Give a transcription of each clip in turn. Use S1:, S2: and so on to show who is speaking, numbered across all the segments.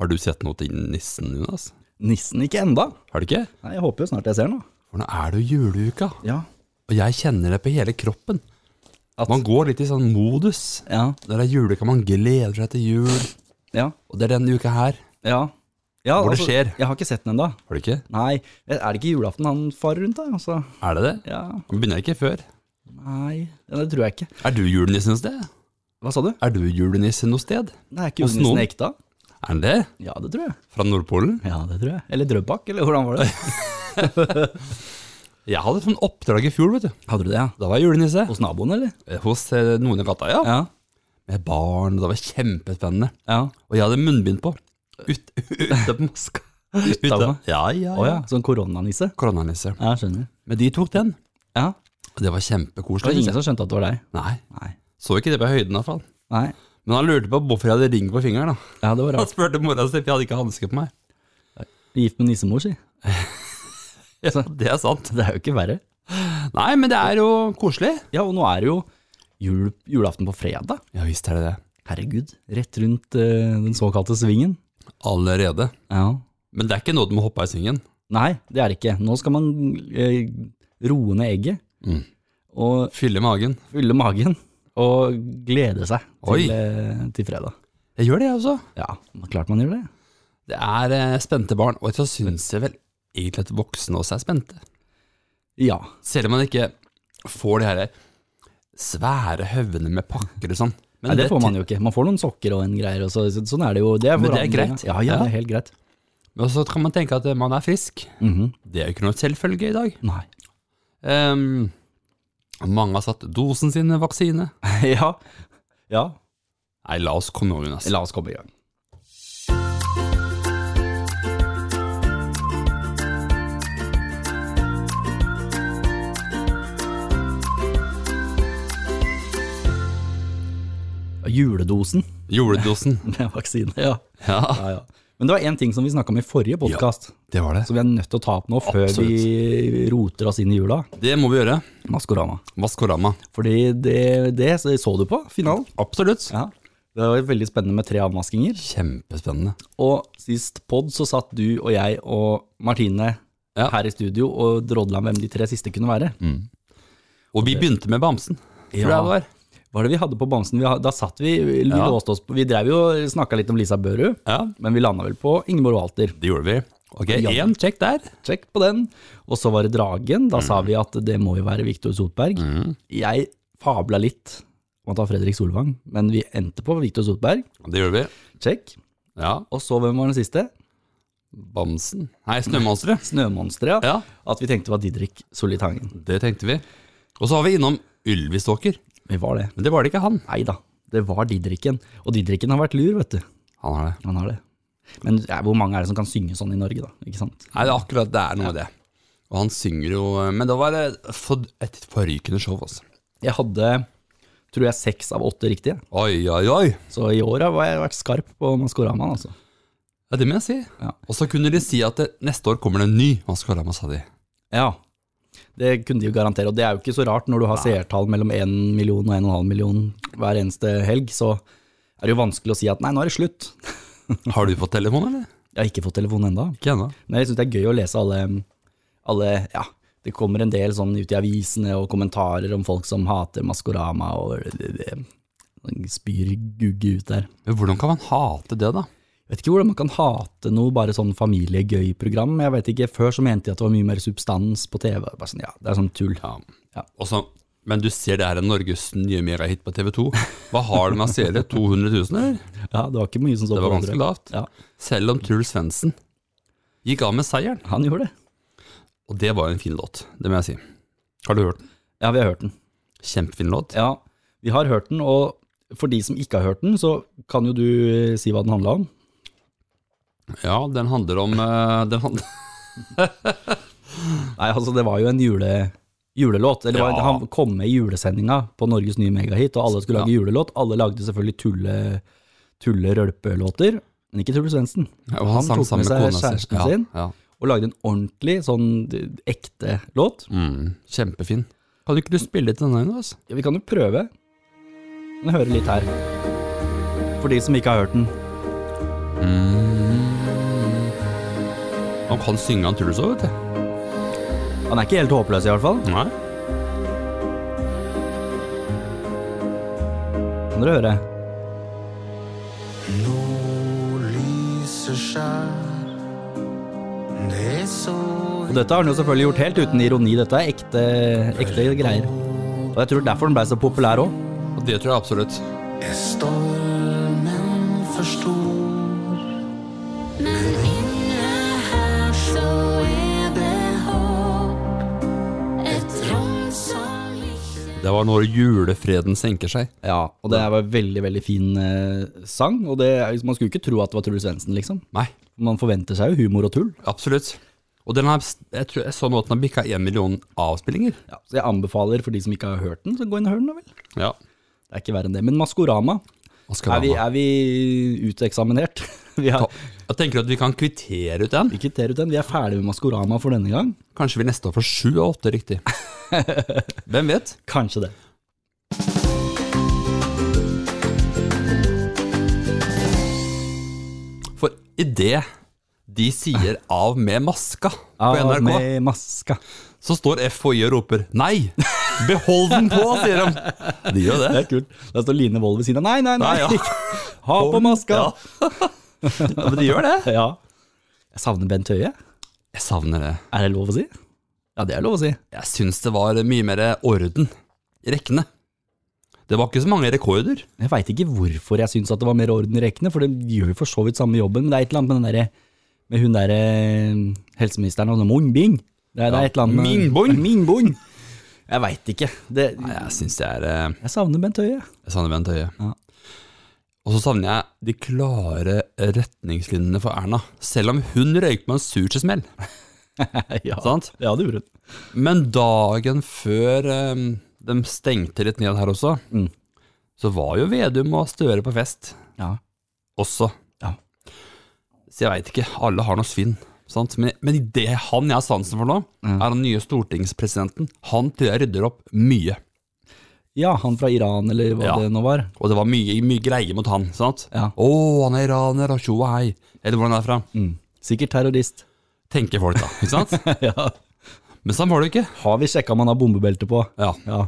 S1: Har du sett noe til nissen, Jonas?
S2: Nissen ikke enda.
S1: Har du ikke?
S2: Nei, Jeg håper jo snart jeg ser den. da.
S1: For nå er det jo juleuka,
S2: Ja.
S1: og jeg kjenner det på hele kroppen. Man går litt i sånn modus.
S2: Ja.
S1: Når det er juleuka, man gleder seg til jul.
S2: Ja.
S1: Og det er denne uka her.
S2: ja. ja altså,
S1: Hvor det skjer.
S2: Jeg har ikke sett den ennå.
S1: Har du ikke?
S2: Nei, er det ikke julaften han farer rundt, da? Altså,
S1: Er det det?
S2: ja.
S1: Man begynner ikke før.
S2: Nei, ja, det tror jeg ikke.
S1: Er du julenissen noe sted?
S2: Hva sa du?
S1: Er du julenisse noe sted?
S2: Det er ikke
S1: Hos
S2: julenissen
S1: noen?
S2: ekte?
S1: Er han det?
S2: Ja, det tror jeg.
S1: Fra Nordpolen?
S2: Ja, det tror jeg. Eller Drøbak, eller hvordan var det?
S1: Jeg hadde sånn oppdrag i fjor, vet du.
S2: Hadde du det, ja?
S1: Da var jeg julenisse.
S2: Hos naboen, eller?
S1: Eh, Hos eh, noen i gata, ja.
S2: Ja.
S1: Med barn, og det var kjempespennende.
S2: ja.
S1: Og jeg hadde munnbind på. Ut, ute på maska. Ute.
S2: Utapå?
S1: Ja, ja,
S2: Å
S1: ja.
S2: ja, sånn koronanisse?
S1: Koronanisse.
S2: Ja, skjønner.
S1: Men de tok den.
S2: Ja.
S1: Og det var
S2: Det var
S1: kjempekoselig.
S2: ingen som skjønte at det var deg?
S1: Nei,
S2: Nei.
S1: så ikke det på høyden i hvert fall.
S2: Nei.
S1: Men han lurte på hvorfor jeg hadde ring på fingeren. da.
S2: Ja, det var
S1: Han
S2: rart.
S1: spurte mora si, for jeg hadde ikke hanske på meg.
S2: Gift med nissemor, si.
S1: Ja, det er sant.
S2: Det er jo ikke verre.
S1: Nei, men det er jo koselig.
S2: Ja, og nå er det jo jul, julaften på fredag.
S1: Ja visst er det det.
S2: Herregud. Rett rundt eh, den såkalte svingen.
S1: Allerede.
S2: Ja.
S1: Men det er ikke nå du må hoppe av svingen.
S2: Nei, det er det ikke. Nå skal man eh, roe ned egget.
S1: Mm.
S2: Og
S1: Fylle magen.
S2: fylle magen. Og glede seg
S1: Oi.
S2: til, eh, til fredag.
S1: Jeg gjør det, jeg også.
S2: Ja, klart man gjør det.
S1: Det er eh, spente barn, og så syns jeg vel egentlig at voksne også er spente.
S2: Ja.
S1: Selv om man ikke får de her svære høvene med pakker og sånn. Men
S2: Nei, det får man jo ikke. Man får noen sokker og en greier. Og så, så- sånn er det jo. Det er
S1: Men det er
S2: forandringen.
S1: greit.
S2: Ja, ja,
S1: Ja.
S2: det er helt greit.
S1: Og så kan man tenke at eh, man er frisk.
S2: Mhm.
S1: Det er jo ikke noe selvfølge i dag.
S2: Nei.
S1: Ehm, mange har satt dosen sin vaksine.
S2: ja. ja.
S1: Nei, la oss komme over, Jonas.
S2: La oss komme i gang. Juledosen
S1: Juledosen.
S2: med vaksine, ja.
S1: Ja,
S2: ja, ja. Men det var én ting som vi snakka om i forrige podkast,
S1: det var det.
S2: som vi er nødt til å ta opp nå før vi roter oss inn i jula.
S1: Det må vi gjøre.
S2: Maskorama.
S1: Maskorama.
S2: Fordi det, det så du på finalen.
S1: Absolutt.
S2: Ja. Det var veldig spennende med tre avmaskinger.
S1: Kjempespennende.
S2: Og sist pod så satt du og jeg og Martine
S1: Ja. Mm.
S2: her i studio og drodla om hvem de tre siste kunne være.
S1: Og vi begynte med bamsen. Tror
S2: Ja.
S1: jeg det var.
S2: Hva er det vi hadde på Bamsen? Vi, ha- da satt vi, vi
S1: Ja.
S2: låste oss på, vi drev jo og snakka litt om Lisa Børu,
S1: Ja,
S2: men vi landa vel på Ingeborg Walter.
S1: det gjorde vi. Ok,
S2: Ja.
S1: én sjekk der.
S2: Sjekk på den. Og så var det Dragen. Da
S1: Mm.
S2: sa vi at det må jo være Viktor Sotberg. Jeg fabla litt om at det var Fredrik Solvang, men vi endte på Viktor Sotberg.
S1: Det gjorde vi.
S2: Sjekk.
S1: Ja.
S2: Og så hvem var den siste?
S1: Bamsen. Nei, snømonsteret.
S2: Snømonsteret.
S1: Ja,
S2: At vi tenkte var Didrik Solitangen.
S1: det tenkte vi. Og så var vi innom Ylvisåker.
S2: Vi var det.
S1: Men det var det ikke han.
S2: Nei da, det var Didriken. Og Didriken har vært lur, vet du.
S1: Han har det.
S2: Han har det. Men ja, hvor mange er det som kan synge sånn i Norge, da? Ikke sant?
S1: Nei, det er akkurat det er noe med det. Og han synger jo eh, Men det var det for, et forrykende show, altså.
S2: Jeg hadde, tror jeg, seks av åtte riktige.
S1: Oi, oi, oi.
S2: Så i år har jeg vært skarp på Maskoramaen, altså.
S1: Ja, det må jeg si.
S2: Ja.
S1: Og så kunne de si at det, neste år kommer det en ny Maskorama, sa de.
S2: Ja. Det kunne de jo garantere, og det er jo ikke så rart når du har seertall mellom 1 million og 1,5 million hver eneste helg, så er det jo vanskelig å si at nei, nå er det slutt.
S1: Har du fått telefon, eller?
S2: Jeg har ikke fått telefon ennå.
S1: Ikke ennå.
S2: Men jeg syns det er gøy å lese alle, alle Ja, det kommer en del sånn ut i avisene og kommentarer om folk som hater Maskorama og det, det, det spyr gugge ut der.
S1: Men hvordan kan man hate det, da?
S2: Jeg vet ikke hvordan man kan hate noe bare sånn familiegøy-program. Jeg vet ikke, Før så mente jeg at det var mye mer substans på TV. Bare sånn, ja, Det er sånn tull.
S1: Ja.
S2: Ja.
S1: Og så- men du ser det her er Norges nye megahit på TV 2. Hva har det med seere? 200 000, eller?
S2: Ja, Det var ikke mye som så
S1: Det var
S2: på
S1: ganske
S2: andre.
S1: lavt.
S2: Ja,
S1: Selv om Truls Svendsen gikk av med seieren.
S2: Han gjorde det.
S1: Og det var jo en fin låt, det må jeg si. Har du hørt den?
S2: Ja, vi har hørt den.
S1: Kjempefin låt.
S2: Ja, Vi har hørt den, og for de som ikke har hørt den, så kan jo du eh, si hva den handla om.
S1: Ja, den handler om eh, den handler,
S2: Nei, altså det var jo en jule, julelåt. Eller det var,
S1: Ja.
S2: Han kom med i julesendinga på Norges nye megahit, og alle skulle lage
S1: Ja.
S2: julelåt. Alle lagde selvfølgelig tulle, tulle-rølpelåter, men ikke Tulle Svendsen.
S1: Og han, sang
S2: tok
S1: sammen
S2: med
S1: med
S2: seg
S1: kona
S2: kjæresten sin.
S1: Ja, ja.
S2: Og lagde en ordentlig, sånn d- ekte låt.
S1: Mm, kjempefin. Kan du ikke du spille til denne? Altså?
S2: Ja, vi kan jo prøve. Men høre litt her. For de som ikke har hørt den.
S1: Mm. Han kan synge han Truls òg, vet du.
S2: Han er ikke helt håpløs, i hvert fall.
S1: Nei.
S2: Kan dere høre?
S3: Nå lyser skjær, det så
S2: Og dette har han jo selvfølgelig gjort helt uten ironi. Dette er ekte, ekte greier. Og jeg tror derfor den blei så populær òg.
S1: Og det tror jeg absolutt.
S3: er stormen for stor.
S4: Men inne her så er det håp. Et rom som ikke
S1: Det var når julefreden senker seg.
S2: Ja, og det var en veldig, veldig fin eh, sang. Og det, er- man skulle ikke tro at det var Truls Svendsen, liksom.
S1: Nei,
S2: Man forventer seg jo humor og tull.
S1: absolutt. Og den har, jeg, tror, jeg så nå at den har bikka én million avspillinger.
S2: Ja, så jeg anbefaler for de som ikke har hørt den, så gå inn og hør den, da vel.
S1: Ja.
S2: Det er ikke verre enn det. Men Maskorama, er vi,
S1: Maskorama.
S2: er vi uteksaminert? Vi har
S1: Ta- Jeg tenker at vi kan kvittere ut den.
S2: vi kvitterer ut den. Vi er ferdig med Maskorama for denne gang.
S1: Kanskje vi neste år får sju av åtte riktig. Hvem vet?
S2: Kanskje det.
S1: For idet de sier 'av med maska' på
S2: Av
S1: NRK,
S2: Ah, med maska.
S1: så står FHI og roper 'nei, behold den på', sier de. De gjør
S2: Det
S1: det.
S2: er kult. Der står Line Wold ved siden av. Nei, nei,
S1: Nei,
S2: nei!
S1: ja.
S2: Ha på maska!
S1: Ja. ja, men de gjør det.
S2: Ja. Jeg savner Bent Høie.
S1: Jeg savner det.
S2: Er det lov å si? Ja, det er lov å si.
S1: Jeg syns det var mye mer orden i rekkene. Det var ikke så mange rekorder.
S2: Jeg veit ikke hvorfor jeg syns at det var mer orden i rekkene, for det gjør jo for så vidt samme jobben, men det er et eller annet med den derre med hun derre eh, helseministeren og munnbind. Det, er- det
S1: Ja,
S2: er et eller annet med
S1: minbong.
S2: Minbong. Jeg veit ikke. Det,
S1: Nei, jeg syns det er eh,
S2: jeg savner Bent Høie.
S1: Jeg savner Bent Høie.
S2: Ja.
S1: Og så savner jeg de klare retningslinjene for Erna. Selv om hun røyk på en sursesmell.
S2: ja.
S1: Sant?
S2: ja, det gjorde hun.
S1: Men dagen før eh, de stengte litt ned her også,
S2: Mm.
S1: så var jo Vedum og Støre på fest
S2: Ja.
S1: også.
S2: Ja.
S1: Så jeg veit ikke. Alle har noe svinn. Sant? Men, men det han jeg har sansen for nå,
S2: Ja.
S1: er den nye stortingspresidenten. Han tror jeg rydder opp mye.
S2: ja, han fra Iran, eller hva
S1: Ja.
S2: det nå var.
S1: Og det var mye, mye greier mot han. sant?
S2: Ja.
S1: Å, han er iraner, og tjo og hei. Eller hvordan det er fra.
S2: Mm. Sikkert terrorist.
S1: tenker folk da, ikke sant?
S2: ja.
S1: Men sånn var det jo ikke.
S2: Har vi sjekka om han har bombebelte på?
S1: Ja.
S2: Ja.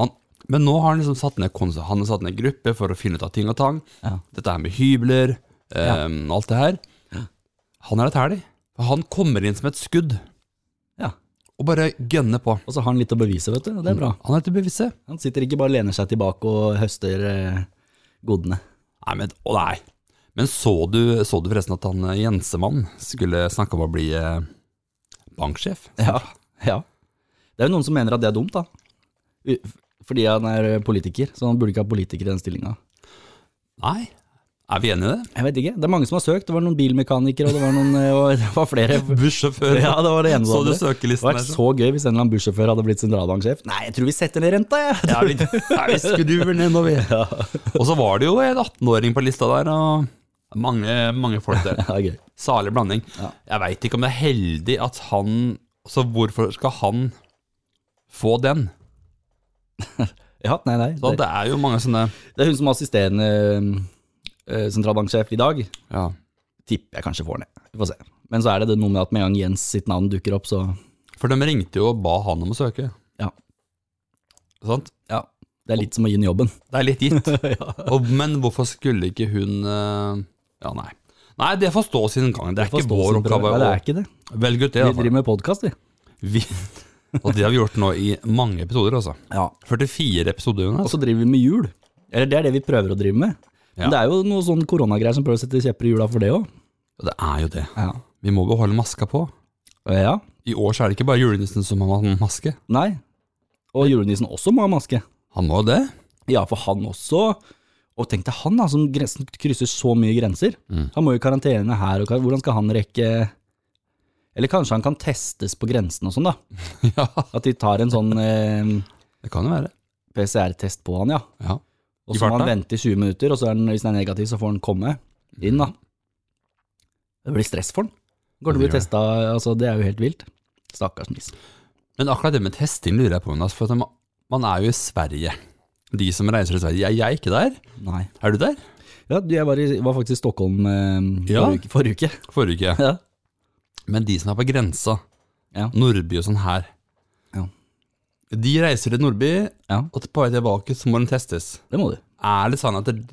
S1: Han, men nå har han liksom satt ned kons- han har satt ned gruppe for å finne ut av ting og tang.
S2: Ja.
S1: Dette her med hybler, ehm, alt det her. Han er et herlig. For Han kommer inn som et skudd,
S2: ja.
S1: og bare gønner på.
S2: Og så har han litt å bevise, vet du. og Det er bra.
S1: Han er til bevisse.
S2: Han sitter ikke bare og lener seg tilbake og høster eh, godene.
S1: Nei, men, å nei. Men så du, så du forresten at han eh, Jensemann skulle snakke om å bli eh, banksjef?
S2: Ja. ja. Det er jo noen som mener at det er dumt, da. U- Fordi han er eh, politiker, så han burde ikke ha politiker i den stillinga.
S1: Nei. Er vi enige i det?
S2: Jeg vet ikke. Det er mange som har søkt. Det var noen bilmekanikere, og det var, noen, eh, og det var flere.
S1: Bussjåfør.
S2: Ja, det var det ene
S1: Så
S2: og
S1: du
S2: det andre. Det
S1: søkelisten liksom?
S2: hadde
S1: der?
S2: vært så gøy hvis en eller annen bussjåfør hadde blitt sentralbanksjef. Nei, jeg tror vi setter ned renta, jeg.
S1: Ja, vi, ja, vi skrur ned når vi Og så var det jo en 18-åring på lista der, og mange, mange folk der.
S2: Ja, gøy.
S1: Salig blanding.
S2: Ja.
S1: Jeg veit ikke om det er heldig at han Så hvorfor skal han få den?
S2: Ja, nei, nei.
S1: Så
S2: Det,
S1: det er jo mange sånne
S2: det er hun som er assisterende eh, sentralbanksjef i dag.
S1: ja.
S2: Tipper jeg kanskje får den, jeg. Vi får se. Men så er det det noe med at med en gang Jens sitt navn dukker opp, så
S1: For de ringte jo og ba han om å søke.
S2: Ja.
S1: Sant?
S2: Ja, det er litt som å gi den jobben.
S1: Det er litt gitt.
S2: ja.
S1: Og, men hvorfor skulle ikke hun eh, Ja, nei. Nei, det får stå sin gang. Det er ikke vår oppgave
S2: Nei,
S1: å
S2: det er ikke det.
S1: velge ut det.
S2: Vi
S1: altså.
S2: driver med podkast, vi.
S1: Vi, og det har vi gjort nå i mange episoder, altså.
S2: Ja.
S1: 44 episoder. Jonas.
S2: Og så driver vi med jul. Eller det er det vi prøver å drive med.
S1: Ja.
S2: Men det er jo noe sånn koronagreier som prøver å sette kjepper i hjula for det òg.
S1: Og det er jo det.
S2: Ja.
S1: Vi må beholde maska på.
S2: ja.
S1: I år så er det ikke bare julenissen som har maske.
S2: Nei. Og julenissen også må ha maske.
S1: Han må det.
S2: Ja, for han også. Og tenk deg han, da, som grensen krysser så mye grenser.
S1: Mm.
S2: Han må jo i karantene her, og kar- hvordan skal han rekke Eller kanskje han kan testes på grensen og sånn, da.
S1: ja,
S2: At de tar en sånn eh,
S1: det kan jo være.
S2: PCR-test på han, ja.
S1: Ja. I
S2: Og så må
S1: farta?
S2: han vente i 20 minutter, og så er den, hvis den er negativ, så får han komme inn, da. Det blir stress for han. Går
S1: Mhm. Ja, det
S2: til å bli
S1: gjør det.
S2: testa, altså det er jo helt vilt. Stakkars nis.
S1: Men akkurat det med testing lurer jeg på, Jonas. For at man- man er jo i Sverige. De som reiser til Sverige. Jeg, jeg er ikke der.
S2: Nei.
S1: Er du der?
S2: Ja, du, jeg var, i, var faktisk i Stockholm eh,
S1: Ja.
S2: forrige, uke- forrige uke.
S1: Forrige uke.
S2: Ja.
S1: Men de som er på grensa,
S2: Ja.
S1: Nordby og sånn her
S2: Ja.
S1: De reiser til Nordby,
S2: Ja.
S1: og på vei tilbake så må de testes.
S2: Det må du.
S1: Er det sånn at det,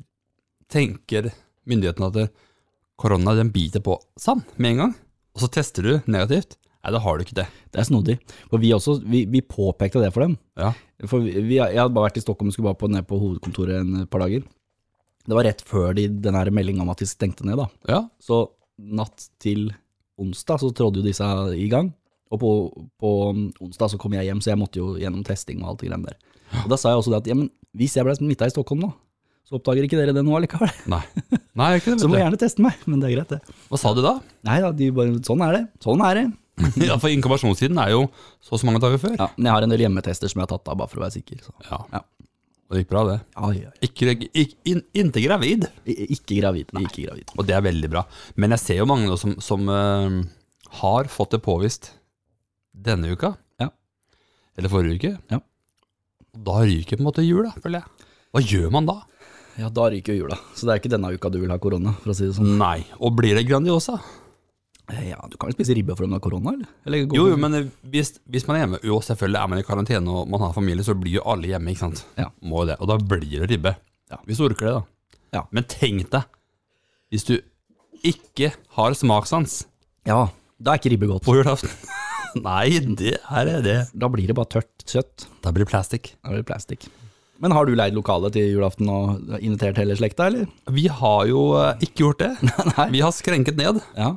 S1: tenker myndighetene at det, korona den biter på sand med en gang? Og så tester du negativt? Nei, da har du ikke det.
S2: Det er snodig. For vi, også, vi, vi påpekte det for dem.
S1: Ja.
S2: For vi, vi- jeg hadde bare vært i Stockholm og skulle bare på, ned på hovedkontoret en par dager. Det var rett før de, den her meldinga om at de stengte ned. da.
S1: ja.
S2: Så natt til onsdag så trådde jo disse i gang. Og på, på onsdag så kom jeg hjem, så jeg måtte jo gjennom testing og alt det greiene der. Og da sa jeg også det at ja, men hvis jeg ble smitta i Stockholm nå, så oppdager ikke dere det nå allikevel.
S1: Nei. Nei, jeg kunne
S2: Så må
S1: vet
S2: jeg gjerne teste meg, men det er greit, det.
S1: du. Hva sa du da?
S2: Nei da, de bare Sånn er det. Sånn er det.
S1: ja, for inkubasjonstiden er jo så og så mange dager før.
S2: Ja, men jeg har en del hjemmetester som jeg har tatt av, bare for å være sikker. Så.
S1: Ja.
S2: Ja.
S1: Og det gikk bra, det.
S2: Ai, ai.
S1: Ikke, ikke, in, ikke gravid.
S2: I- Ikke gravid. Ikke gravid.
S1: Og det er veldig bra. Men jeg ser jo mange nå som, som eh, har fått det påvist denne uka.
S2: Ja.
S1: Eller forrige uke.
S2: Ja.
S1: Da ryker på en måte jula, føler jeg. Hva gjør man da?
S2: Ja, da ryker jo jula. Så det er ikke denne uka du vil ha korona, for å si det sånn.
S1: Nei. Og blir det Grandiosa?
S2: Eh, Ja, du kan vel spise ribbe for om du har korona, eller? eller går
S1: Jo,
S2: det-
S1: jo, men eh, hvis, hvis man er hjemme, jo selvfølgelig er man i karantene og man har familie, så blir jo alle hjemme, ikke sant?
S2: Ja.
S1: Må jo det. Og da blir det ribbe.
S2: Ja.
S1: Hvis du orker det, da.
S2: Ja.
S1: Men tenk deg, hvis du ikke har smakssans
S2: Ja, da er ikke ribbe godt.
S1: på julaften Nei, det er det.
S2: Da blir det bare tørt kjøtt.
S1: Da blir det plastikk.
S2: Da blir det plastikk. Men har du leid lokale til julaften og invitert hele slekta, eller?
S1: Vi har jo eh, ikke gjort det.
S2: Nei.
S1: Vi har skrenket ned.
S2: Ja.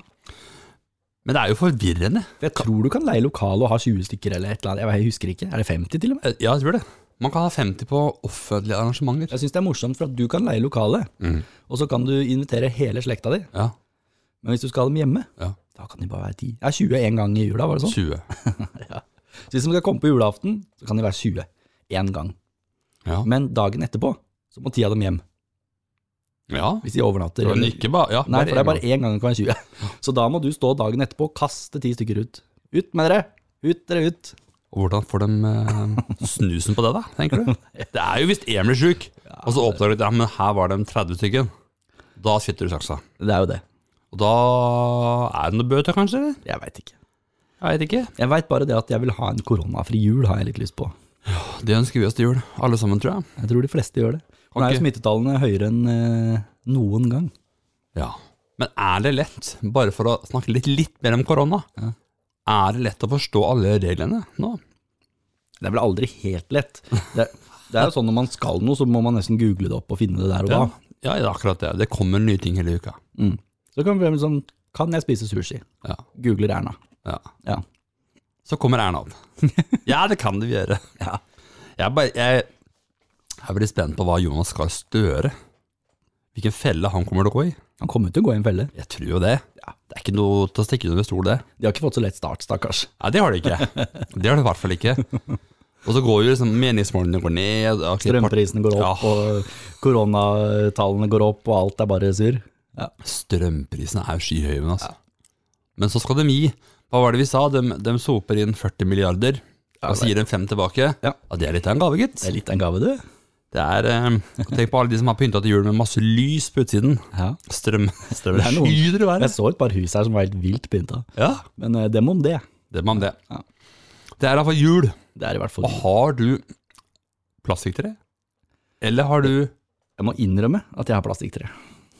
S1: Men det er jo forvirrende.
S2: For jeg tror du kan leie lokale og ha 20 stykker eller et eller annet. Jeg husker ikke. Er det 50 til og med?
S1: Eh, Ja, jeg tror det. Man kan ha 50 på offentlige arrangementer.
S2: Jeg syns det er morsomt, for at du kan leie lokale, og så kan du invitere hele slekta di.
S1: Ja,
S2: Men hvis du skal ha dem hjemme,
S1: Ja.
S2: da kan de bare være 10. Ja, 20 en gang i jula, var det sånn?
S1: 20.
S2: Så hvis de skal komme på julaften, så kan de være 20 én gang.
S1: Ja.
S2: Men dagen etterpå så må ti av dem hjem,
S1: ja.
S2: hvis de overnatter.
S1: Men
S2: eller-
S1: ikke bare ja,
S2: Nei, for det er
S1: en gang.
S2: bare én gang det kan være 20. Så da må du stå dagen etterpå og kaste ti stykker ut. Ut med dere! Ut dere ut!
S1: Og hvordan får de eh, snusen på det, da? tenker du? Det er jo hvis én blir sjuk, og så oppdager du at ja, men her var de 30 stykken. Da sitter du i saksa.
S2: Det er jo det.
S1: Og da er det noen bøter, kanskje? eller?
S2: Jeg veit ikke.
S1: Jeg veit ikke.
S2: Jeg veit bare det at jeg vil ha en koronafri jul, har jeg litt lyst på.
S1: Det ønsker vi oss til jul, alle sammen, tror jeg.
S2: Jeg tror de fleste gjør det. Nå er
S1: Ok.
S2: jo smittetallene høyere enn eh, noen gang.
S1: Ja. Men er det lett, bare for å snakke litt, litt mer om korona, er det lett å forstå alle reglene nå?
S2: Det er vel aldri helt lett. Det, det er jo sånn når man skal noe, så må man nesten google det opp og finne det der og da.
S1: Ja, ja, det er akkurat det. Det kommer nye ting hele uka.
S2: Så kan det være sånn Kan jeg spise sushi?
S1: Ja.
S2: Googler Erna.
S1: ja.
S2: Ja.
S1: Så kommer Erna opp. ja, det kan du gjøre.
S2: Ja.
S1: Jeg, er bare, jeg, jeg er veldig spent på hva Jonas Gahr Støre Hvilken felle han kommer til å gå i.
S2: Han kommer til å gå i en felle.
S1: Jeg tror jo det. Det er ikke noe til å stikke under stol, det.
S2: De har ikke fått så lett start, stakkars.
S1: Nei, det har det ikke. Det har det i hvert fall ikke. Og så går jo liksom meningsmålene går ned. og
S2: Strømprisene går opp,
S1: Ja.
S2: og koronatallene går opp, og alt er bare surr. Ja.
S1: Strømprisene er jo skyhøye, men altså. Men så skal de gi. Hva var det vi sa? De, de soper inn 40 milliarder, og så gir de 5 tilbake.
S2: Ja.
S1: det er litt av en gave, gitt.
S2: Det er litt av en gave, du.
S1: Det er, eh, Tenk på alle de som har pynta til jul med masse lys på utsiden.
S2: Ja.
S1: Strøm, strøm
S2: Det er noen.
S1: skyter i
S2: Jeg
S1: været.
S2: så et par hus her som var helt vilt pynta.
S1: Ja,
S2: Men eh, dem om det.
S1: det er man det.
S2: Ja.
S1: Det er iallfall jul.
S2: Det er i hvert fall
S1: Og har du plastikktre? Eller har du
S2: Jeg må innrømme at jeg har plastikktre.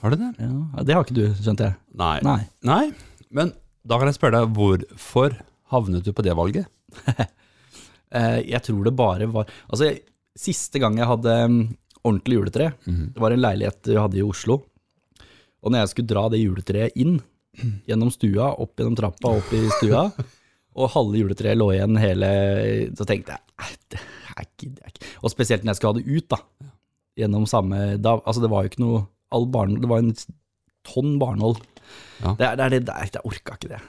S1: Har du det?
S2: Ja, det har ikke du, skjønte jeg.
S1: Nei.
S2: Nei.
S1: Nei. Men da kan jeg spørre deg, hvorfor havnet du på det valget?
S2: Eh, Jeg tror det bare var Altså, jeg- siste gang jeg hadde mm, ordentlig juletre, det var en leilighet vi hadde i Oslo. Og når jeg skulle dra det juletreet inn, gjennom stua, opp gjennom trappa, opp i stua, og halve juletreet lå igjen hele Så tenkte jeg "Nei, det er ikke, det er ikke. Og spesielt når jeg skulle ha det ut, da. Gjennom samme da, Altså, det var jo ikke noe all barn, Det var en tonn barnål.
S1: Ja.
S2: Det, er- det er det der, jeg orka ikke det.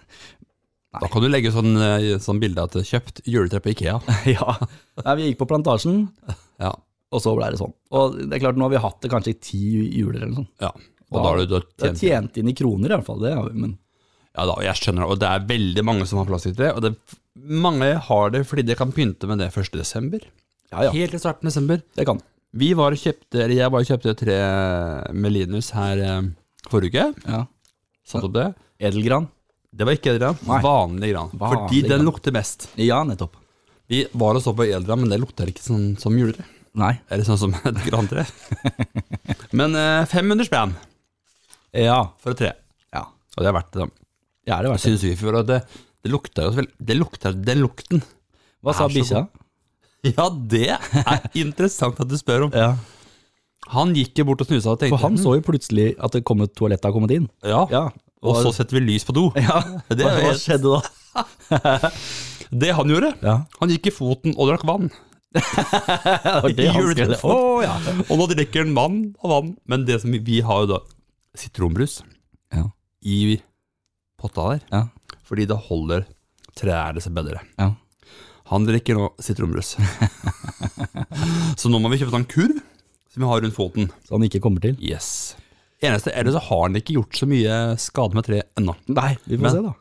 S1: Da kan du legge sånn, eh, sånn bilde at det er kjøpt juletre på Ikea.
S2: ja. Nei, vi gikk på plantasjen,
S1: Ja.
S2: Og så ble det sånn. Og det er klart, nå har vi hatt det kanskje i ti juler eller noe sånt.
S1: ja. Og da har du, du har
S2: Det er
S1: tjent
S2: tjent inn i kroner i hvert fall, det har vi, men
S1: Ja da, og jeg skjønner det. Og det er veldig mange som har plastikktre. Og det, mange har det fordi de kan pynte med det 1. desember.
S2: ja, ja,
S1: Helt til starten av desember.
S2: det kan.
S1: Vi var og kjøpte, eller jeg var og kjøpte tre med Linus her eh, forrige uke.
S2: Ja.
S1: Satt opp det.
S2: Edelgran.
S1: Det var ikke elran.
S2: Nei.
S1: Vanlig gran.
S2: Vanlig
S1: Fordi
S2: gran.
S1: den lukter best.
S2: Ja, nettopp.
S1: Vi var og så på elran, men det lukter ikke sånn som juletre.
S2: Nei.
S1: Eller sånn som et grantre. men eh, 500 spenn
S2: Ja.
S1: for et tre.
S2: Ja,
S1: Og det er verdt det. da.
S2: ja det var det.
S1: Synes vi for at det, det lukter jo så vel Det lukter den lukten.
S2: Hva sa
S1: er så
S2: bikkja?
S1: Ja, det er interessant at du spør om.
S2: Ja.
S1: Han gikk jo bort og snusa og tenkte
S2: For han så jo plutselig at det kom et toalett har kommet inn.
S1: ja.
S2: Ja.
S1: Og så setter vi lys på do.
S2: Ja,
S1: Det
S2: hva,
S1: er jo
S2: hva
S1: helt-
S2: skjedde da?
S1: Det han gjorde.
S2: Ja.
S1: Han gikk i foten og drakk vann.
S2: Det var det han skrev.
S1: Juletrefot. Og nå drikker han vann og vann. Men det som vi, vi har jo da sitronbrus
S2: Ja.
S1: i potta der,
S2: Ja.
S1: fordi det holder trærne seg bedre.
S2: Ja.
S1: Han drikker nå sitronbrus. så nå må vi kjøpe sånn kurv som vi har rundt foten.
S2: Så han ikke kommer til?
S1: Yes. Eneste Ellers så har han ikke gjort så mye skade med tre ennå.
S2: Nei, vi får
S1: Men-
S2: se da.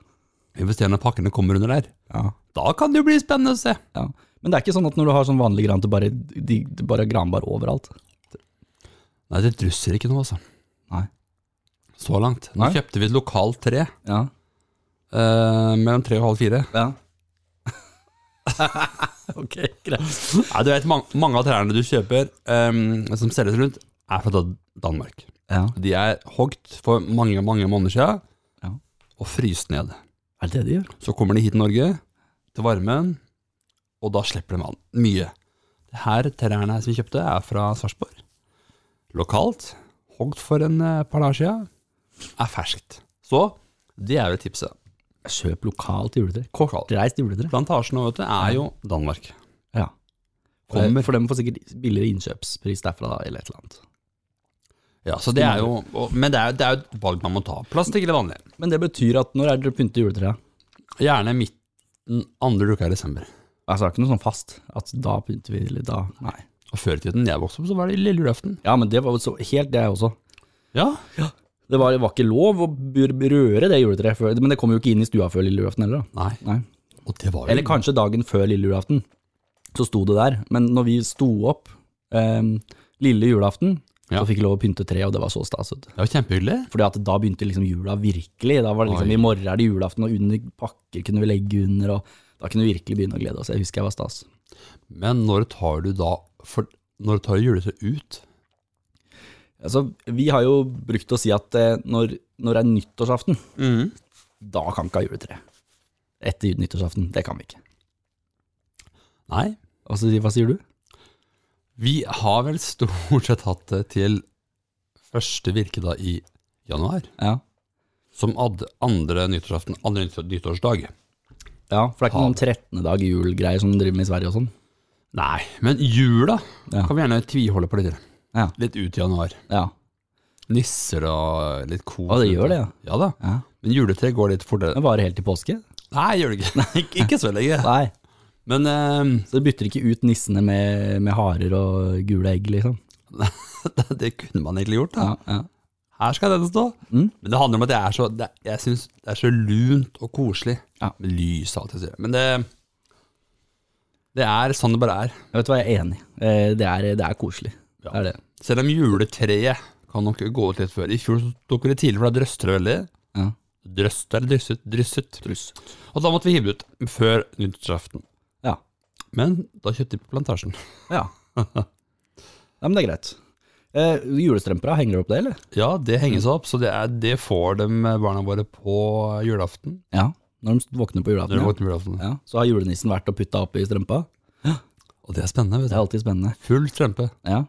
S1: Vi får se når pakkene kommer under der.
S2: Ja.
S1: Da kan det jo bli spennende å se.
S2: Ja. Men det er ikke sånn at når du har sånn vanlig gran, at det bare, de, det bare er granbar overalt.
S1: Nei, det drusser ikke noe, altså.
S2: Nei.
S1: Så langt. Nå
S2: Nei.
S1: kjøpte vi et lokalt tre eh,
S2: Ja.
S1: mellom tre og halv fire.
S2: ja. ok, greit.
S1: Nei, du vet, mange, mange av trærne du kjøper ehm, som selges rundt, er fra Dan- Danmark.
S2: Ja.
S1: De er hogd for mange, mange måneder siden
S2: Ja.
S1: og fryst ned.
S2: Er det det de gjør?
S1: Så kommer de hit til Norge, til varmen, og da slipper de vann. Mye. Det her trærne her som vi kjøpte, er fra Sarpsborg. Lokalt. Hogd for en eh, par dager siden. Er ferskt. Så det er jo tipset.
S2: Kjøp lokalt juletre. Kortreist juletre.
S1: Plantasjen nå, vet du, er jo Danmark.
S2: Ja.
S1: Kommer.
S2: For dem får sikkert billigere innkjøpspris derfra, da, eller et eller annet.
S1: Ja, så det er jo, og- Men det er, jo- det er jo et valg man må ta. Plastikk eller vanlig?
S2: Men det betyr at når er det dere pynter juletreet?
S1: Gjerne midten andre uka i desember.
S2: Altså, det er ikke noe sånn fast at da pynter vi, eller da Nei.
S1: Og før i tiden jeg vokste opp, så var det lille julaften.
S2: Ja, men det var jo så helt det også.
S1: Ja.
S2: Det var, det var ikke lov å bur- røre det juletreet, før- men det kom jo ikke inn i stua før lille julaften heller. da.
S1: Nei.
S2: Nei.
S1: Og det var jo
S2: Eller kanskje dagen før lille julaften, så sto det der. Men når vi sto opp eh, lille julaften,
S1: Ja.
S2: så fikk vi lov å pynte tre, og det var så stas. vet du.
S1: Det var kjempehyggelig.
S2: Fordi at da begynte liksom jula virkelig. Da var det liksom,
S1: Oi.
S2: I morgen er det julaften, og under pakker kunne vi legge under. og Da kunne vi virkelig begynne å glede oss. Jeg husker jeg var stas.
S1: Men når tar du da for, Når tar du juletreet ut?
S2: Altså, vi har jo brukt å si at eh, når, når det er nyttårsaften, da kan ikke ha juletre. Etter nyttårsaften, det kan vi ikke.
S1: Nei.
S2: Og så sier- hva sier du?
S1: Vi har vel stort sett hatt det til første virkedag i januar.
S2: Ja.
S1: Som ad, andre nyttårsaften. Andre nyttår- nyttårsdag.
S2: ja, for det er ikke noen 13. dag jul-greier som de driver med i Sverige og sånn.
S1: Nei, men jula
S2: Ja.
S1: kan vi gjerne tviholde på litt. til.
S2: Ja.
S1: Litt ut i januar.
S2: Ja.
S1: Nisser og litt kos.
S2: Å, det gjør det, ja.
S1: Ja da.
S2: Ja.
S1: Men juletre går litt fortere.
S2: Den varer helt til påske?
S1: Nei, gjør det ikke. Nei, ikke- ikke så lenge.
S2: Nei.
S1: Men eh,
S2: Så du bytter ikke ut nissene med, med harer og gule egg, liksom?
S1: det, det kunne man egentlig gjort. Da.
S2: Ja, ja.
S1: Her skal den stå.
S2: Mm.
S1: Men det handler om at jeg, er så, det, jeg synes det er så lunt og koselig
S2: Ja.
S1: med lys og alt det der. Men det, det er sånn det bare er.
S2: Jeg vet hva, jeg er enig. Eh, Det er, det er koselig. Det er det.
S1: Selv om juletreet kan nok gå ut litt før. I fjor så tok vi det tidlig, for da drøster det veldig.
S2: Ja.
S1: Drøst eller drysset, drysset. Og da måtte vi hive det ut før nyttårsaften.
S2: Ja.
S1: Men da kjøpte vi på Plantasjen.
S2: ja. ja men det er greit. Eh, julestrømpera, henger du opp det, eller?
S1: Ja, det henges opp, så det, er, det får de barna våre på julaften.
S2: Ja. Når de våkner på
S1: Når de
S2: julaften.
S1: våkner på julaften.
S2: Ja. Ja. Så har julenissen vært og putta opp i strømpa.
S1: Og det er spennende.
S2: Det
S1: vet
S2: er alltid spennende.
S1: du. Full strømpe.
S2: Ja,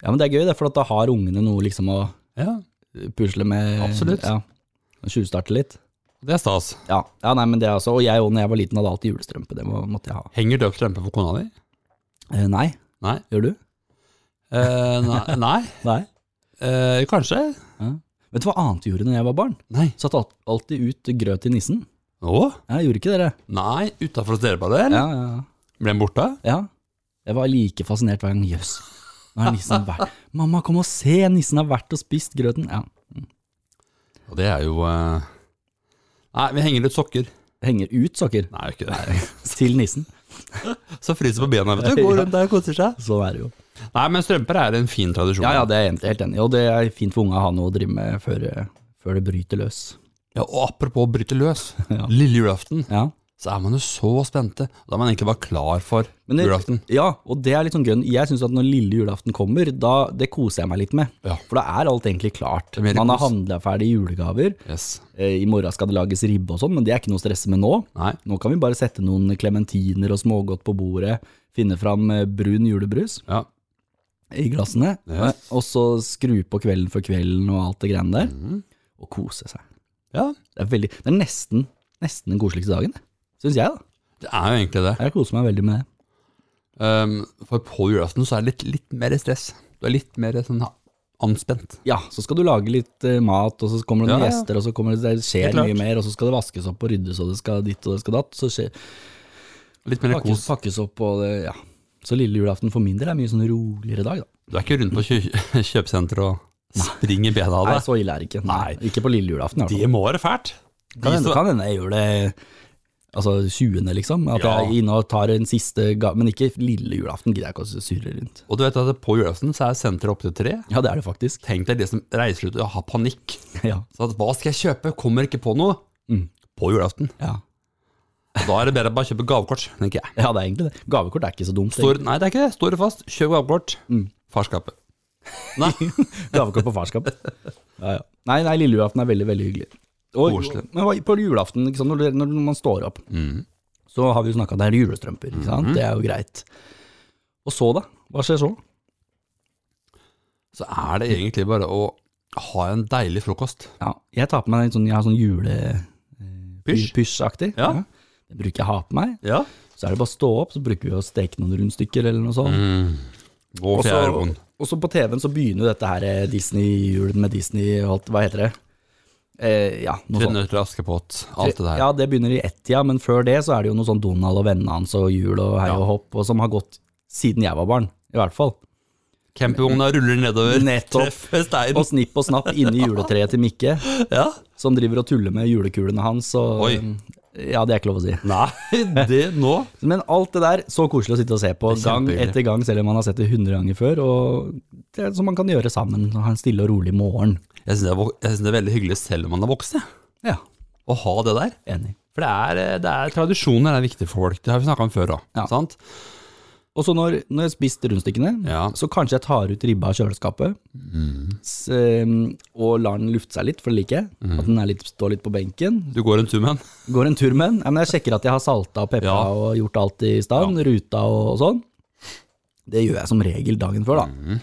S2: ja men det er gøy, det, for at da har ungene noe liksom å
S1: Ja,
S2: pusle med.
S1: Absolutt.
S2: Ja. Tjuvstarte litt.
S1: det er stas.
S2: Ja. ja, nei, men det er også Og jeg òg, når jeg var liten, hadde alltid julestrømpe. Det må, måtte jeg ha.
S1: Henger du opp strømpe for kona di?
S2: Eh, nei.
S1: Nei.
S2: Gjør du?
S1: Eh, nei. nei.
S2: Nei.
S1: Eh, kanskje?
S2: Vet du hva annet jeg gjorde når jeg var barn?
S1: Nei.
S2: Satt alt, alltid ut grøt i nissen.
S1: Å?
S2: Ja, gjorde ikke dere?
S1: Nei, utafor hos dere på det? eller?
S2: Ja, ja, ja.
S1: Ble den borte?
S2: ja. Jeg var like fascinert hver gang. Jøss, nå har nissen vært Mamma, kom og se! Nissen har vært og spist grøten. Ja.
S1: Og det er jo eh, Nei, vi henger ut sokker.
S2: Henger ut sokker
S1: Nei, ikke det.
S2: til nissen.
S1: Så fryser på bena, vet du. Går rundt der og koser seg.
S2: Sånn er det jo.
S1: Nei, men strømper er en fin tradisjon.
S2: Ja, ja, det er jeg egentlig helt enig i. Og det er fint for unga å ha noe å drive med før, eh, før det bryter løs.
S1: Ja, og apropos å bryte løs.
S2: Ja.
S1: Lille julaften,
S2: Ja.
S1: så er man jo så spente. Da er man egentlig bare klar for
S2: Men det-
S1: julaften.
S2: ja, og det er litt sånn gønn. Jeg syns at når lille julaften kommer, da, det koser jeg meg litt med.
S1: Ja.
S2: For da er alt egentlig klart.
S1: er mer
S2: Man har
S1: kos.
S2: handla ferdig julegaver.
S1: Yes.
S2: Eh, I morgen skal det lages ribbe og sånn, men det er ikke noe å stresse med nå.
S1: Nei.
S2: Nå kan vi bare sette noen klementiner og smågodt på bordet, finne fram eh, brun julebrus
S1: Ja.
S2: i glassene,
S1: Ja.
S2: eh, og så skru på kvelden for kvelden og alt det greiene der,
S1: Mhm.
S2: og kose seg.
S1: ja.
S2: Det er, veldig, det er nesten, nesten den koseligste dagen, syns jeg. da.
S1: Det er jo egentlig det.
S2: Jeg koser meg veldig med det.
S1: Ehm, for på julaften så er det litt, litt mer stress. Du er litt mer sånn ha- anspent.
S2: Ja, så skal du lage litt eh, mat, og så kommer det noen
S1: Ja, ja.
S2: gjester, og så kommer det, det skjer
S1: Helt klart.
S2: mye mer, og så skal det vaskes opp og ryddes, og det skal ditt og det skal datt. Så skje,
S1: Litt mer
S2: pakkes,
S1: kos.
S2: pakkes opp, og det, ja. Så lille julaften for min del er mye sånn roligere dag, da.
S1: Du er ikke rundt på kjø kjøpesenter og springer bena av
S2: Nei,
S1: deg.
S2: så ille er det ikke. Nei. Ikke på lille julaften, i hvert fall.
S1: Det må være fælt.
S2: Kan
S1: De
S2: hende,
S1: som-
S2: kan hende jeg gjør det altså 20. liksom. At
S1: Ja.
S2: jeg er inne og tar en siste ga men ikke lille julaften. Gidder jeg ikke å surre rundt.
S1: Og du vet at på julaften så er senteret opp til tre.
S2: Ja, det er det faktisk.
S1: Tenk deg de som reiser ut og har panikk.
S2: Ja.
S1: Så at, hva skal jeg kjøpe? Kommer ikke på noe. På julaften.
S2: Ja.
S1: Da er det bedre å bare kjøpe gavekort, tenker jeg.
S2: ja, det er egentlig det. Gavekort er ikke så dumt.
S1: Står, nei, det er ikke det. Står det fast, kjøp gavekort. Farskapet. Nei,
S2: egentlig. Gavekort på farskap. Ja, ja. Nei, nei, lille julaften er veldig, veldig hyggelig. Og,
S1: Koselig.
S2: men hva- på julaften, ikke sant, når, det- når man står opp, så har vi jo snakka om det er julestrømper. Ikke sant? Det er jo greit. Og så, da? Hva skjer så?
S1: så er det egentlig bare å ha en deilig frokost.
S2: Ja, jeg tar på meg en sånn, jeg har sånn jule...
S1: Pysj.
S2: Pysj-aktig.
S1: Ja.
S2: Det bruker jeg å ha på meg.
S1: Ja.
S2: Så er det bare å stå opp, så bruker vi å steke noen rundstykker eller noe sånt.
S1: Mm, Gå
S2: Og så-
S1: fjærvogn.
S2: og så på TV-en så begynner jo dette her eh, Disney-julen med Disney og alt, hva heter det? Eh, ja, noe
S1: Tre
S2: sånt.
S1: nøtter til Askepott. Alt det der.
S2: Ja, det begynner i ett-tida, men før det så er det jo noe sånn Donald og vennene hans og jul og hei og hopp, og som har gått siden jeg var barn, i hvert fall.
S1: Campingvogna ruller nedover.
S2: Nettopp.
S1: Treffer steinen.
S2: Og snipp og snapp inni juletreet til Mikke,
S1: Ja.
S2: som driver og tuller med julekulene hans og
S1: Oi.
S2: Ja, det er ikke lov å si.
S1: Nei, det nå.
S2: Men alt det der, så koselig å sitte og se på
S1: Det er
S2: gang
S1: kjempehyggelig.
S2: etter gang, selv om man har sett det hundre ganger før. Og det er som man kan gjøre sammen, og ha en stille og rolig morgen.
S1: Jeg syns det, er vok- jeg synes det er veldig hyggelig selv om man er voksen, jeg,
S2: Ja,
S1: å ha det der.
S2: enig.
S1: For det er, eh, det er tradisjoner er viktig for folk. Det har vi snakka om før òg.
S2: Ja.
S1: Sant?
S2: Og så når, når jeg har spist rundstykkene,
S1: Ja. Mm.
S2: så kanskje jeg tar ut ribba av kjøleskapet s, ehm, og lar den lufte seg litt, for det liker jeg.
S1: Mm.
S2: At den er litt, står litt på benken.
S1: Du går en tur med den.
S2: Går en tur med den. Ja, men jeg sjekker at jeg har salta og peppa
S1: Ja.
S2: og gjort alt i stand. Ruta og, og sånn. Det gjør jeg som regel dagen før, da.
S1: Mhm.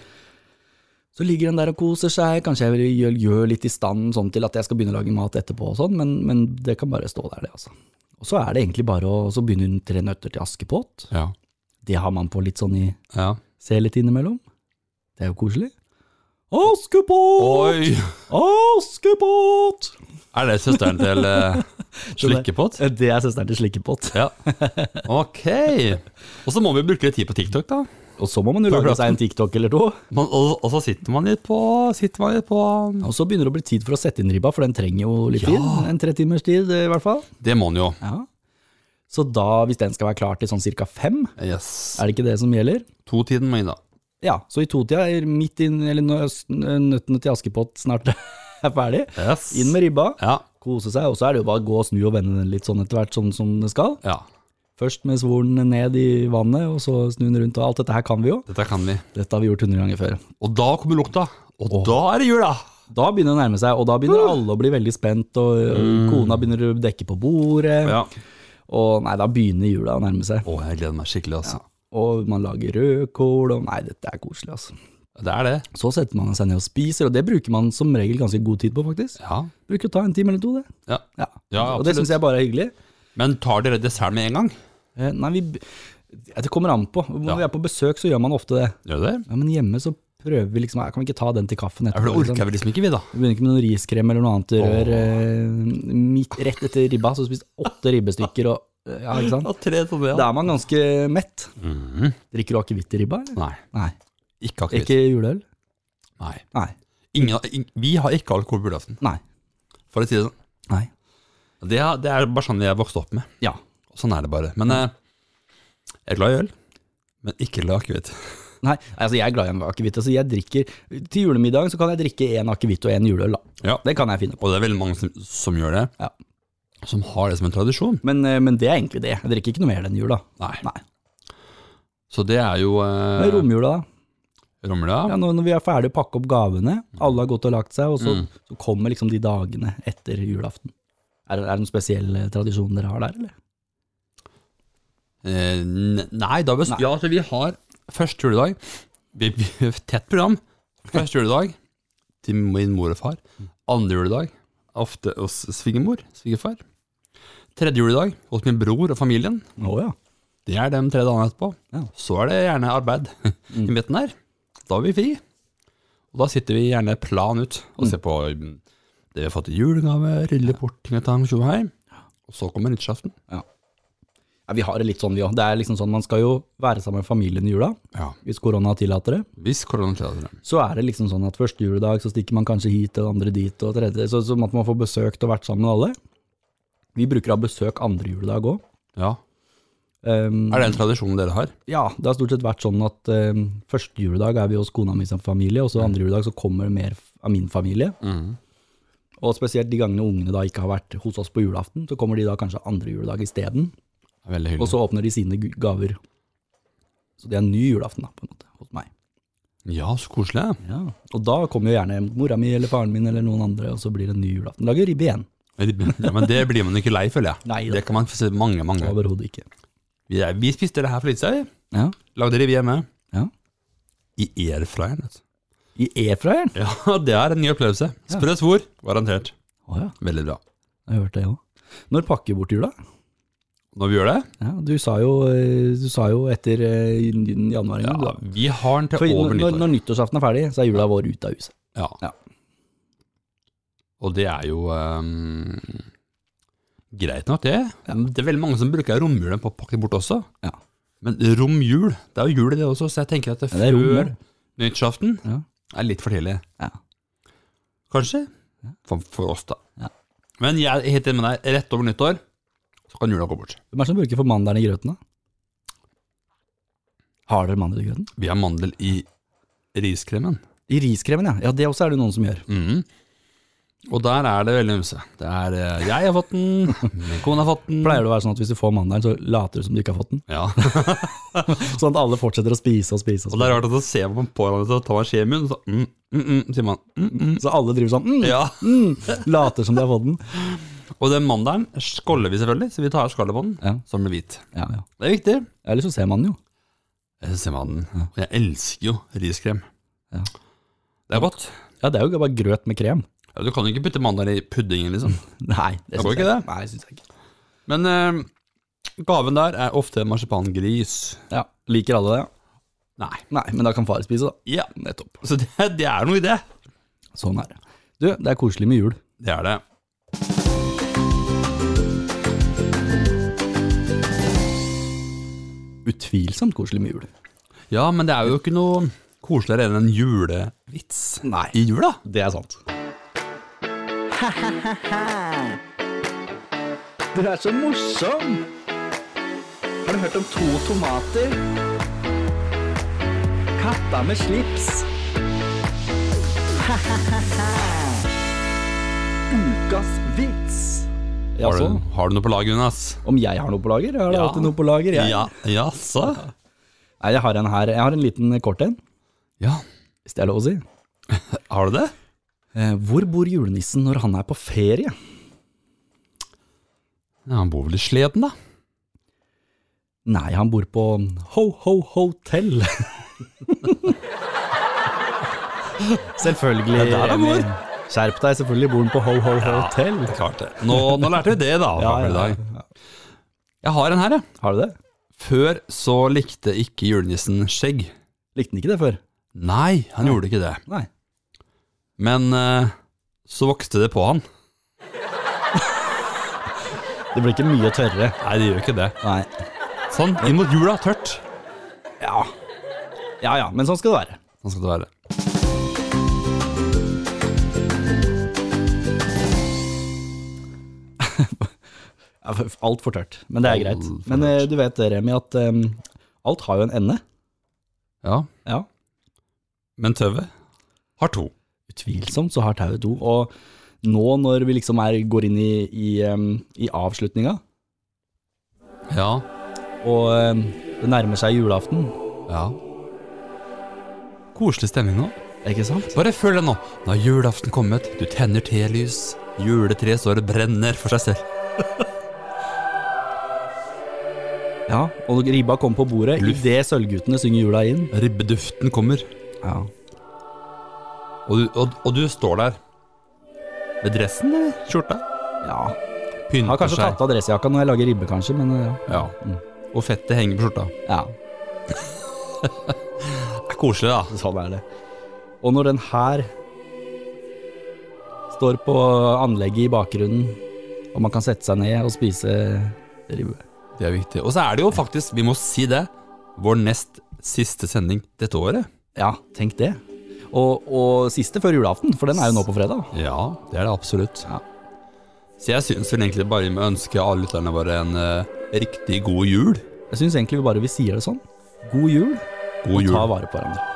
S2: Så ligger den der og koser seg. Kanskje jeg gjør, gjør litt i stand sånn til at jeg skal begynne å lage mat etterpå og sånn, men, men det kan bare stå der, det, altså. Og så er det egentlig bare å så begynne hun Tre nøtter til Askepott.
S1: Ja.
S2: Det har man på litt sånn i
S1: ja.
S2: Se litt innimellom. Det er jo koselig. Askepott!
S1: Oi!
S2: Askepott!
S1: Er det søsteren til eh, Slikkepott?
S2: Sånn Det er søsteren til Slikkepott.
S1: Ja. Ok. Og så må vi bruke litt tid på TikTok, da.
S2: Og så må man jo
S1: På
S2: lage seg en TikTok eller to.
S1: Man, og, og så sitter man litt på, sitter man litt på
S2: Og så begynner det å bli tid for å sette inn ribba, for den trenger jo litt tid. En tre timers tid, eh, i hvert fall.
S1: Det må man jo.
S2: Så da, hvis den skal være klar til sånn cirka fem,
S1: Yes.
S2: er det ikke det som gjelder?
S1: To-tiden må inn, da.
S2: Ja, så i totida, er midt inn, eller når øst- nøttene til Askepott snart er ferdig,
S1: Yes.
S2: inn med ribba,
S1: Ja.
S2: kose seg, og så er det jo bare å gå og snu og vende den litt sånn etter hvert, sånn som det skal.
S1: ja.
S2: Først med svoren ned i vannet, og så snu den rundt, og alt dette her kan vi jo.
S1: Dette kan vi.
S2: Dette har vi gjort hundre ganger før.
S1: Og da kommer lukta. Og da er det jul, da!
S2: Da begynner det å nærme seg, og da begynner alle å bli veldig spent, og og kona begynner å dekke på bordet,
S1: Mm. Ja.
S2: og nei, da begynner jula å nærme seg.
S1: Å, jeg gleder meg skikkelig, altså.
S2: Og man lager rødkål, og nei, dette er koselig, altså.
S1: Det er det.
S2: Så setter man seg ned og spiser, og det bruker man som regel ganske god tid på, faktisk.
S1: Ja.
S2: Bruker å ta en time eller to, det.
S1: ja.
S2: Ja,
S1: Ja,
S2: Og det
S1: absolutt.
S2: syns jeg bare er hyggelig.
S1: Men tar dere desserten med en gang?
S2: Eh, Nei, vi, det kommer an på. Når
S1: Ja.
S2: vi er på besøk, så gjør man ofte det.
S1: Gjør dere det?
S2: Ja, men hjemme så prøver vi liksom, kan vi ikke ta den til kaffen
S1: Ja, for
S2: etterpå?
S1: det
S2: liksom?
S1: orker vi liksom ikke, vi, da.
S2: Vi begynner ikke med noen riskrem eller noe annet rør. Eh, midt, rett etter ribba, så har vi spist åtte ribbestykker og eh, Ja, ikke sant?
S1: tre sånne,
S2: Da er man ganske mett.
S1: Mhm.
S2: Drikker du akevitt i ribba, eller?
S1: Nei.
S2: Nei.
S1: Ikke akevitt.
S2: Ikke juleøl?
S1: Nei.
S2: Nei.
S1: Ingen, ing- vi har ikke alkohol på julaften,
S2: Nei.
S1: for å si det sånn.
S2: Nei.
S1: Det, er- det er bare sånn jeg vokste opp med.
S2: Ja.
S1: Mm. Sånn er det bare. Men eh, jeg er glad i øl, men ikke glad i akevitt.
S2: Nei, altså jeg er glad i en akevitt. Altså jeg drikker, til julemiddagen så kan jeg drikke én akevitt og én juleøl. da.
S1: Ja.
S2: Det kan jeg finne på.
S1: Og det er veldig mange som, som gjør det,
S2: Ja.
S1: som har det som en tradisjon.
S2: Men, eh, men det er egentlig det. Jeg drikker ikke noe mer den jula.
S1: Nei.
S2: Nei.
S1: Så det er jo eh,
S2: Men romjula, da.
S1: romjula.
S2: Ja, når, når vi er ferdig å pakke opp gavene, alle har gått og lagt seg, og så, så kommer liksom de dagene etter julaften. Er, det- er det noen spesiell eh, tradisjon dere har der, eller?
S1: Eh, n- nei, da bes- Ja, altså, vi har første juledag vi, vi, Tett program. Første juledag til min mor og far. Andre juledag ofte hos svigermor, svigerfar. Tredje juledag hos min bror og familien.
S2: Å ja.
S1: Det er de tre dagene etterpå.
S2: Ja.
S1: Så er det gjerne arbeid i midten her. Da har vi fri. Og da sitter vi gjerne plan ut og ser på mm, det vi har fått i julegave, rulle bort ting og tang, tjo og hei. Og så kommer nyttårsaften.
S2: ja. Vi har det litt sånn, vi òg. Det er liksom sånn, man skal jo være sammen med familien i jula,
S1: Ja.
S2: hvis korona tillater det.
S1: Hvis korona tillater det.
S2: så er det liksom sånn at første juledag så stikker man kanskje hit, og andre dit, og tredje, så, sånn at man får besøkt og vært sammen med alle. Vi bruker å ha besøk andre juledag òg.
S1: Ja. Er det en tradisjon dere har?
S2: ja, Mm. det har stort sett vært sånn at ehm, første juledag er vi hos kona mi som familie, og så andre juledag så kommer det mer f- av min familie. Og spesielt de gangene ungene da ikke har vært hos oss på julaften, så kommer de da kanskje andre juledag isteden,
S1: Veldig
S2: og så åpner de sine gu- gaver. Så det er en ny julaften da, på en måte, hos meg.
S1: Ja, så koselig.
S2: Ja, og da kommer jo gjerne mora mi eller faren min eller noen andre, og så blir det en ny julaften. Lager ribbe igjen.
S1: Ja, men det blir man ikke lei, føler jeg.
S2: Nei da.
S1: det kan man se mange, mange.
S2: Overhodet ikke.
S1: Vi, er, vi spiste det her for litt siden.
S2: Ja.
S1: Lagde det vi hjemme.
S2: Ja.
S1: I airfryeren. vet du.
S2: I airfryeren?
S1: Ja, det er en ny opplevelse. Sprø svor, garantert.
S2: Å ja,
S1: Veldig bra.
S2: jeg har hørt det òg. Når pakker bort jula?
S1: Når vi gjør det
S2: Ja, du sa jo, eh, du sa jo etter eh, i den januar en
S1: ja,
S2: gang. du da.
S1: Vi har den
S2: For
S1: til over
S2: når, når,
S1: nyttår.
S2: når nyttårsaften er ferdig, så er jula vår ute av huset.
S1: Ja.
S2: Ja.
S1: Og det er jo ehm, greit nok, det. Det er veldig mange som bruker romjulen på å pakke bort også.
S2: Ja.
S1: Men romjul, det er jo jul i det også, så jeg tenker at det,
S2: Ja, det er
S1: før
S2: romjul.
S1: nyttårsaften
S2: Ja.
S1: er litt for tidlig.
S2: Ja.
S1: Kanskje? For, for oss, da.
S2: Ja.
S1: Men jeg er helt enig med deg. Rett over nyttår så kan jula gå bort.
S2: Hvem er det som bruker formandelen i grøten, da? Har dere mandel i grøten?
S1: Vi har mandel i riskremen.
S2: I riskremen, ja. Ja, Det også er det noen som gjør.
S1: Mhm. Og der er det veldig ymse. Det er eh, Jeg har fått den, min kone har fått den.
S2: Pleier det å være sånn at hvis du får mandelen, så later du som du ikke har fått den?
S1: Ja.
S2: Sånn at alle fortsetter å spise og spise.
S1: Og
S2: Og spise.
S1: det er rart at så ser man på hverandre og tar man skje i munnen, så mm, mm, mm, sier man mm, mm.
S2: Så alle driver sånn mm,
S1: Ja.
S2: mm, Later som de har fått den.
S1: Og den mandelen skåller vi selvfølgelig, så vi tar skallet på den,
S2: Ja.
S1: så den blir hvit.
S2: Ja, ja.
S1: Det er viktig.
S2: Eller så ser man den jo.
S1: Jeg ser man den. Og jeg elsker jo riskrem.
S2: Ja.
S1: Det er godt.
S2: Ja, det er jo bare grøt med krem.
S1: Ja, du kan jo ikke putte mandelen i puddingen, liksom.
S2: Nei, det
S1: Det går
S2: syns jeg
S1: ikke det.
S2: Nei, synes jeg ikke.
S1: Men eh, gaven der er ofte marsipangris.
S2: Ja, Liker alle det?
S1: Nei.
S2: Nei, men da kan far spise, da.
S1: Ja.
S2: Nettopp.
S1: Så det, det er noe i det.
S2: Sånn er det. Du, det er koselig med jul.
S1: Det er det.
S2: Utvilsomt koselig med jul.
S1: Ja, men det er jo ikke noe koseligere enn en julevits
S2: Nei.
S1: i jula.
S2: Det er sant. Du er så morsom! Har du hørt om to tomater? Katta med slips. Ukas vits.
S1: Har
S2: Jaså?
S1: du, har du noe på lag, Jonas?
S2: Om jeg har noe på lager? Har du
S1: Ja.
S2: alltid noe på lager? Jeg?
S1: Ja, jaså?
S2: Nei, jeg har en her. Jeg har en liten eh, kort en,
S1: Ja,
S2: hvis det er lov å si.
S1: har du det?
S2: Eh, hvor bor julenissen når han er på ferie?
S1: Ja, han bor vel i Sleden, da.
S2: Nei, han bor på Ho Ho Hotel. selvfølgelig.
S1: Det er der han bor.
S2: Emil. Skjerp deg, selvfølgelig bor han på Ho Ho Hotel.
S1: Klart det. Nå, nå lærte vi det, da.
S2: Ja,
S1: for i
S2: ja,
S1: dag. Jeg har en her, jeg.
S2: Har du det?
S1: Før så likte ikke julenissen skjegg.
S2: Likte han ikke det før?
S1: Nei, han gjorde ikke det.
S2: Nei.
S1: Men eh, så vokste det på han.
S2: Det ble ikke mye tørrere.
S1: Nei, det gjør ikke det.
S2: Nei.
S1: Sånn, inn mot jula, tørt.
S2: Ja. ja ja, men sånn skal det være.
S1: Sånn skal det være.
S2: Ja, for- Alt for tørt, men det er
S1: Alt
S2: greit.
S1: for
S2: Men eh,
S1: tørt.
S2: du vet det, Remi, at eh, alt har jo en ende.
S1: Ja.
S2: Ja.
S1: Men tauet har to.
S2: Utvilsomt så har tauet to. Og nå når vi liksom er, går inn i, i, em, i avslutninga,
S1: Ja.
S2: og em, det nærmer seg julaften,
S1: ja. Koselig stemning nå.
S2: ikke sant?
S1: Bare følg deg nå. Nå har julaften kommet, du tenner telys. Juletreet står og brenner for seg selv.
S2: Ja, og ribba kommer på bordet idet sølvguttene synger jula inn.
S1: Ribbeduften kommer,
S2: Ja.
S1: og du, og, og du står der. Med dressen eller skjorta?
S2: ja. Har
S1: Pynter
S2: kanskje
S1: seg.
S2: tatt av dressjakka når jeg lager ribbe, kanskje, men eh, ja.
S1: Ja. Mm. Og fettet henger på skjorta.
S2: ja.
S1: Det er koselig, da.
S2: Sånn er det. Og når den her står på anlegget i bakgrunnen, og man kan sette seg ned og spise ribbe
S1: Det er viktig. Og så er det jo faktisk, vi må si det, vår nest siste sending dette året.
S2: Ja, tenk det. Og, og siste før julaften, for den er jo nå på fredag.
S1: Ja, det er det absolutt.
S2: Ja.
S1: Så jeg syns vel egentlig bare vi må ønske alle lytterne våre en eh, riktig god jul.
S2: Jeg syns egentlig vi bare vi sier det sånn. God jul,
S1: God
S2: ta
S1: jul.
S2: vare på hverandre.